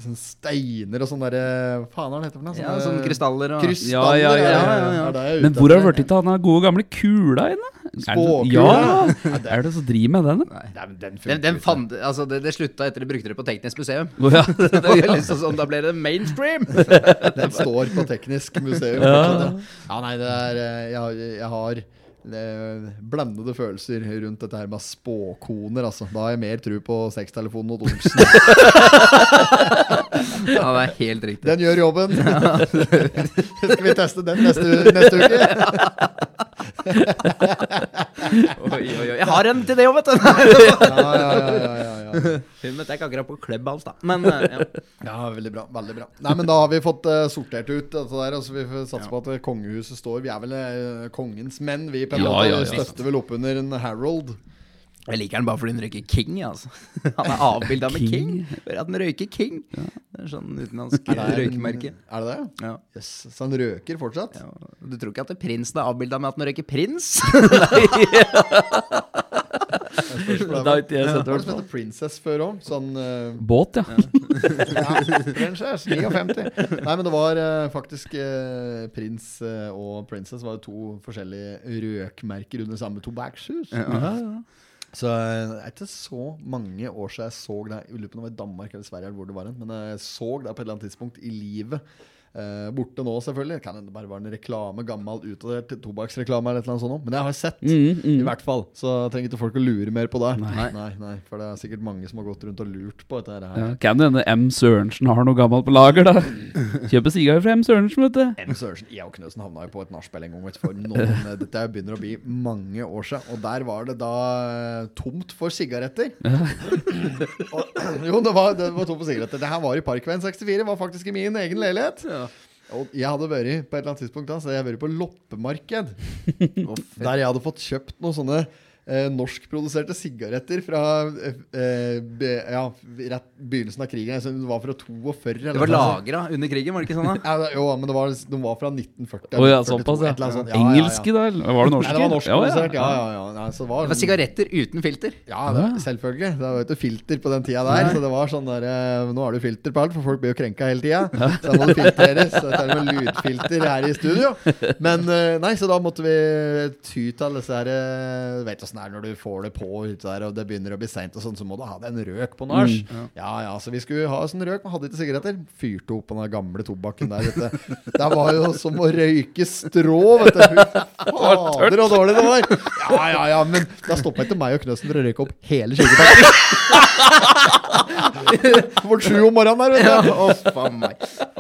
Speaker 2: sånne steiner og sånne der, Faen, hva er det heter for noe?
Speaker 8: Ja, sånne
Speaker 3: sånn
Speaker 8: krystaller og
Speaker 2: Krystaller,
Speaker 3: Ah, Ja, ja,
Speaker 2: er
Speaker 3: ja,
Speaker 8: ja,
Speaker 2: det-
Speaker 8: ja.
Speaker 2: er det jeg er
Speaker 3: Men
Speaker 2: ute
Speaker 3: hvor har
Speaker 2: etter.
Speaker 3: det blitt av den gode gamle kula inne?
Speaker 2: Spåkula.
Speaker 3: Ja, er det som driver med den? da?
Speaker 2: Nei, men den funker
Speaker 8: Den, den
Speaker 2: ikke.
Speaker 8: fand, altså det, det slutta etter de brukte det på Teknisk museum.
Speaker 3: Å, Ja.
Speaker 8: Det var jo liksom sånn, Da ble det mainstream!
Speaker 2: Den står på Teknisk museum. fortsatt, Ja. ja, nei, det er eh, Jeg, har- jeg har eh, blandede følelser rundt dette her med spåkoner, altså. Da har jeg mer tro på sextelefonen og Olsen.
Speaker 8: Ja, det er helt riktig.
Speaker 2: Den gjør jobben! Skal vi teste den neste, neste uke?
Speaker 8: Oi, oi, oi. Jeg har en til det òg, vet du.
Speaker 2: Ja, ja, ja, ja, ja, ja.
Speaker 8: Hun møtte jeg ikke akkurat på Clubhouse, da. Men eh, ja.
Speaker 2: Ja, veldig bra. veldig bra Nei, men Da har vi fått eh, sortert ut dette der. Altså, vi får satse på at eh, kongehuset står. Vi er vel eh, kongens menn, vi. på en
Speaker 3: Ja,
Speaker 2: måte
Speaker 3: ja, ja.
Speaker 2: Støtter vel opp under en Harold.
Speaker 8: jeg liker den bare fordi hun røyker King, altså. Han er avbilda med King. Hører at den røyker King. Det er sånn utenlandsk røykemerke.
Speaker 2: Er det det?
Speaker 8: Ja.
Speaker 2: Yes. Så han røker fortsatt?
Speaker 8: Ja, Du tror ikke at prinsen er avbilda med at han røyker prins?
Speaker 2: Hva
Speaker 3: Da
Speaker 2: er
Speaker 3: har ikke jeg
Speaker 2: det
Speaker 3: sett det. i hvert
Speaker 2: som
Speaker 3: fall.
Speaker 2: heter Princess før òg? Sånn eh,
Speaker 3: Båt, ja.
Speaker 2: ja, Princess, 59. Nei, men det var eh, faktisk eh, prins eh, og princess var jo to forskjellige røkmerker under samme tobakkshus. Så eh, det er ikke så mange år siden jeg så det Jeg lurer på om det var i Danmark eller Sverige, eller hvor det var hen, men jeg så det på et eller annet tidspunkt i livet. Eh, borte nå, selvfølgelig. Kan hende det bare var en reklame, gammel, utdatert tobakksreklame. Eller et eller annet sånt, nå. men jeg har sett, i
Speaker 3: Mm.
Speaker 2: hvert fall. Så trenger ikke folk å lure mer på det. Nei. Nei, for det er sikkert mange som har gått rundt og lurt på dette her.
Speaker 3: ja. Kan det hende M. Sørensen har noe gammelt på lager, da. Kjøper sigar fra M. Sørensen, vet du.
Speaker 2: M. Sørensen, jeg og Knøsen havna jo på et nachspiel en gang. Vet, du, for noen, eh, dette begynner å bli mange år siden. Og der var det da eh, tomt for sigaretter. og, jo, det var, det var tomt for sigaretter. Det her var i Parkveien 64. Var faktisk i min egen leilighet. Og jeg hadde vært på et eller annet tidspunkt da, så hadde jeg vært på loppemarked. der jeg hadde fått kjøpt noen sånne eh, norskproduserte sigaretter fra eh, eh, be, ja, rett begynnelsen av krigen. Jeg synes Det var fra 42.
Speaker 8: Det var lagra under krigen, var det ikke sånn? da?
Speaker 2: Ja, det- jo, men det var, de var fra 1940.
Speaker 3: Å ja,
Speaker 2: 1942,
Speaker 3: såpass,
Speaker 2: et
Speaker 3: ja.
Speaker 2: eller annet sånt. Ja, ja, ja.
Speaker 3: Engelske, da? eller Var det
Speaker 2: Nei,
Speaker 3: norske?
Speaker 2: det var
Speaker 3: ja,
Speaker 2: norskprodusert.
Speaker 3: ja.
Speaker 2: Ja, ja, ja. Nei, så det var, sånn-
Speaker 8: Det var sigaretter uten filter.
Speaker 2: ja, det, selvfølgelig. Det var jo ikke filter på den tida der. Så det var sånn der eh, Nå har du filter på alt, for folk blir jo krenka hele tida. Så da må det filtreres. Så det er noe lydfilter her i studio. Men eh, nei, så da måtte vi ty til disse her eh, Du vet åssen det er når du får det på ute der, og det begynner å bli seint og sånn, så må du ha deg en røk på nach. Mm. ja. ja, så vi skulle ha oss en røk, men hadde ikke sigaretter. Fyrte opp på den gamle tobakken der, vet du. Det var jo som å røyke strå, vet du. Fy Fader, så dårlig det var. Ja, ja, ja, men da stoppa ikke meg og Knøsen for å røyke opp hele 20-pakken. Vårt sju om morgenen der, vet du.
Speaker 8: Uff a meg.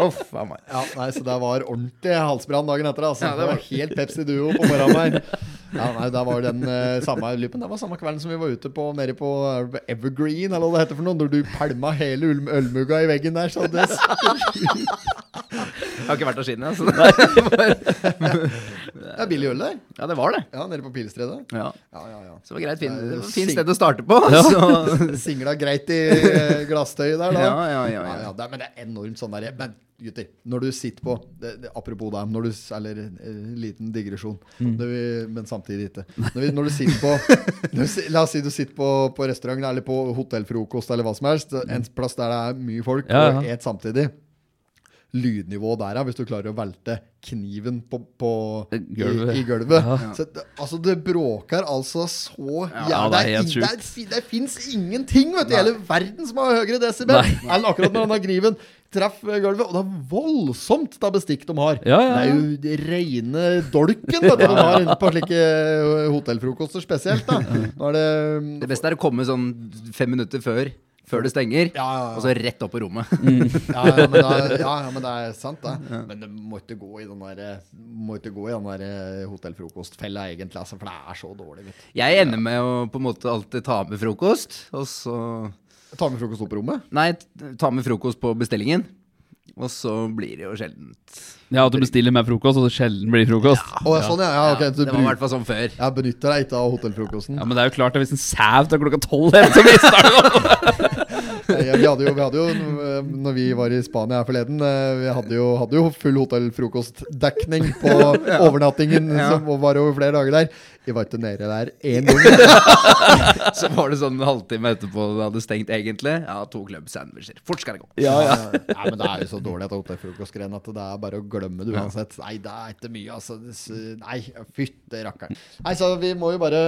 Speaker 8: Uff a meg.
Speaker 2: Ja, nei, så det var ordentlig halsbrann dagen etter. Altså. det, var helt Pepsi Duo på morgenen her. Ja, nei, det var den eh, samme lypen. Det var samme kvelden som vi var ute på nede på eh, Evergreen, eller hva det heter for noe, når du pælma hele ulm- ølmugga i veggen der. Så det,
Speaker 8: Jeg har ikke vært der siden, jeg. Så det var,
Speaker 2: det er billig øl der.
Speaker 8: ja, det var det.
Speaker 2: Ja, nede på Pilstredet.
Speaker 8: Ja.
Speaker 2: Ja, ja, ja.
Speaker 8: Så det var greit. Fin, det var et
Speaker 2: Sing-
Speaker 8: fint sted å starte på. Så,
Speaker 2: Singla greit i eh, glasstøyet der, da.
Speaker 8: Ja, ja, ja, ja.
Speaker 2: det er, men det er enormt sånn der Men gutter, når du sitter på det, det, Apropos deg, når du s- Eller eh, liten digresjon,
Speaker 3: Mm.
Speaker 2: når vi, men samtidig ikke. Når, vi, når du sitter på når, du si- La oss si du sitter på, på restaurant eller på hotellfrokost eller hva som helst, en plass der det er mye folk,
Speaker 3: Mm. Ja,
Speaker 2: og
Speaker 3: ja.
Speaker 2: et samtidig. Lydnivået der, ja, hvis du klarer å velte kniven på, på,
Speaker 3: Gulvet.
Speaker 2: i, i gulvet. Så, det- altså, det bråker altså så jævlig.
Speaker 3: Ja,
Speaker 2: det
Speaker 3: det er
Speaker 2: ing-
Speaker 3: helt
Speaker 2: det
Speaker 3: sjukt.
Speaker 2: er si- Det fins ingenting vet du, i hele verden som har høyere desibel enn akkurat når han har griven treff gulvet. Og det er voldsomt da bestikk de har.
Speaker 3: Ja, ja, ja.
Speaker 2: Det er jo reine dolken vet du, de har inne på slike ø, hotellfrokoster spesielt. da. Nå er det mm, ø,
Speaker 8: det beste er å komme sånn fem minutter før, før det stenger,
Speaker 2: Ja, ja, ja.
Speaker 8: og så rett opp på rommet.
Speaker 2: ja, ja, men det er, ja, ja, men det er sant, det. Men det må ikke gå i den der, eh, må ikke gå i den der ø, hotellfrokostfella, egentlig, altså, for det er så dårlig. Vet du.
Speaker 8: Jeg ender med å på en måte alltid ta med frokost, og så
Speaker 2: Ta med frokost opp på rommet.
Speaker 8: Nei, t- ta med frokost på bestillingen. Og så blir det jo sjeldent.
Speaker 3: Ja, at du bestiller med frokost, og det sjelden blir frokost.
Speaker 2: Å, ja, sånn, ja. ja, ok, så
Speaker 8: det var i
Speaker 2: du bruker-
Speaker 8: hvert fall sånn før.
Speaker 2: Jeg benytter deg ikke av hotellfrokosten.
Speaker 3: Ja, Men det er jo klart at hvis en sau tar klokka tolv, så mister du noe!
Speaker 2: Ja, vi, hadde jo, vi hadde jo, eh, når vi var i Spania her forleden, eh, vi hadde jo, hadde jo full hotellfrokostdekning på overnattingen, som var over flere dager der. Vi var ikke nede der én gang.
Speaker 8: Så var det sånn en halvtime etterpå det hadde stengt egentlig. Ja, to club sandwicher. Fort skal det gå.
Speaker 2: Ja, ja. Nei, men det er jo så dårlig at hotellfrokostgreiene at det er bare å glemme det uansett. Nei, det er ikke mye, altså. Det s- Nei, fytte rakkeren. Nei, så vi må jo bare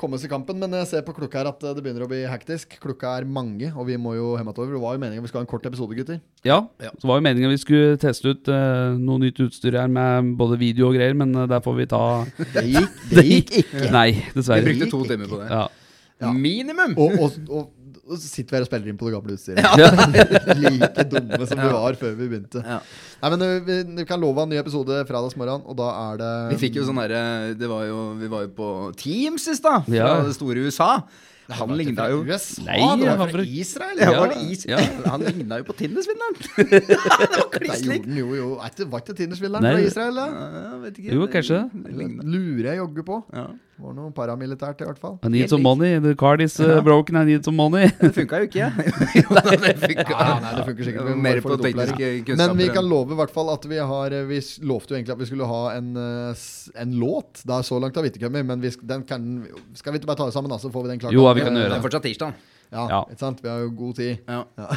Speaker 2: komme oss i kampen, men jeg ser på klokka her at det begynner å bli hektisk. Klokka er mange, og vi må jo hemmetover. Det var jo meningen vi skal ha en kort episode, gutter.
Speaker 3: Ja, så var jo meningen vi skulle teste ut eh, noe nytt utstyr her med både video og greier, men eh, der får vi ta
Speaker 2: Det gikk, det gikk ikke.
Speaker 3: Nei,
Speaker 8: Vi
Speaker 3: dessverre.
Speaker 8: brukte to timer på det.
Speaker 3: Ja.
Speaker 8: Minimum!
Speaker 2: og, og, og, og så sitter vi her og spiller inn på det gamle utstyret. like dumme som vi var før vi begynte.
Speaker 8: Ja.
Speaker 2: Nei, men ø, vi, vi kan love en ny episode fredagsmorgen, og da er det
Speaker 8: Vi fikk jo sånn derre Det var jo Vi var jo på Teams i stad, fra
Speaker 3: Ja.
Speaker 8: det store USA. Han ligna jo
Speaker 2: USA,
Speaker 3: Nei,
Speaker 2: det
Speaker 3: han
Speaker 2: var
Speaker 3: var
Speaker 2: fra
Speaker 3: fra-
Speaker 2: Israel!
Speaker 8: ja,
Speaker 2: Ja.
Speaker 8: var det is?
Speaker 3: Ja.
Speaker 8: Han ligna jo på Tinder-svindleren! det var
Speaker 2: Nei,
Speaker 8: kliss
Speaker 2: gjorde
Speaker 8: lik!
Speaker 2: den jo, jo. Er ikke- Var ikke Tindersvilleren
Speaker 3: Nei,
Speaker 2: fra
Speaker 3: det-
Speaker 2: Israel? da?
Speaker 8: Ja, jeg vet ikke.
Speaker 3: Jo, kanskje det.
Speaker 8: lignet.
Speaker 2: Lurer jeg jogge på.
Speaker 8: Ja.
Speaker 2: Var noe paramilitært, i hvert fall.
Speaker 3: I need some money. The card is uh, broken. I need some money.
Speaker 8: Det funka jo ikke. nei, det funka.
Speaker 2: Ja, nei, det funker sikkert. Vi må
Speaker 8: Mer
Speaker 2: bare
Speaker 8: på
Speaker 2: få litt opplæring.
Speaker 8: tekniske kunnskaper.
Speaker 2: Men vi kan love i hvert fall at vi har eh, Vi s- lovte jo egentlig at vi skulle ha en, eh, s- en låt. Det er så langt av Vittekummer, men vi, sk- den kan, skal vi ikke bare ta det sammen, da, så får vi den klart?
Speaker 3: Jo, ja, vi kan gjøre
Speaker 8: Det er fortsatt tirsdag.
Speaker 2: Ja,
Speaker 3: Ja.
Speaker 2: ikke sant? Vi har jo god tid.
Speaker 8: Ja.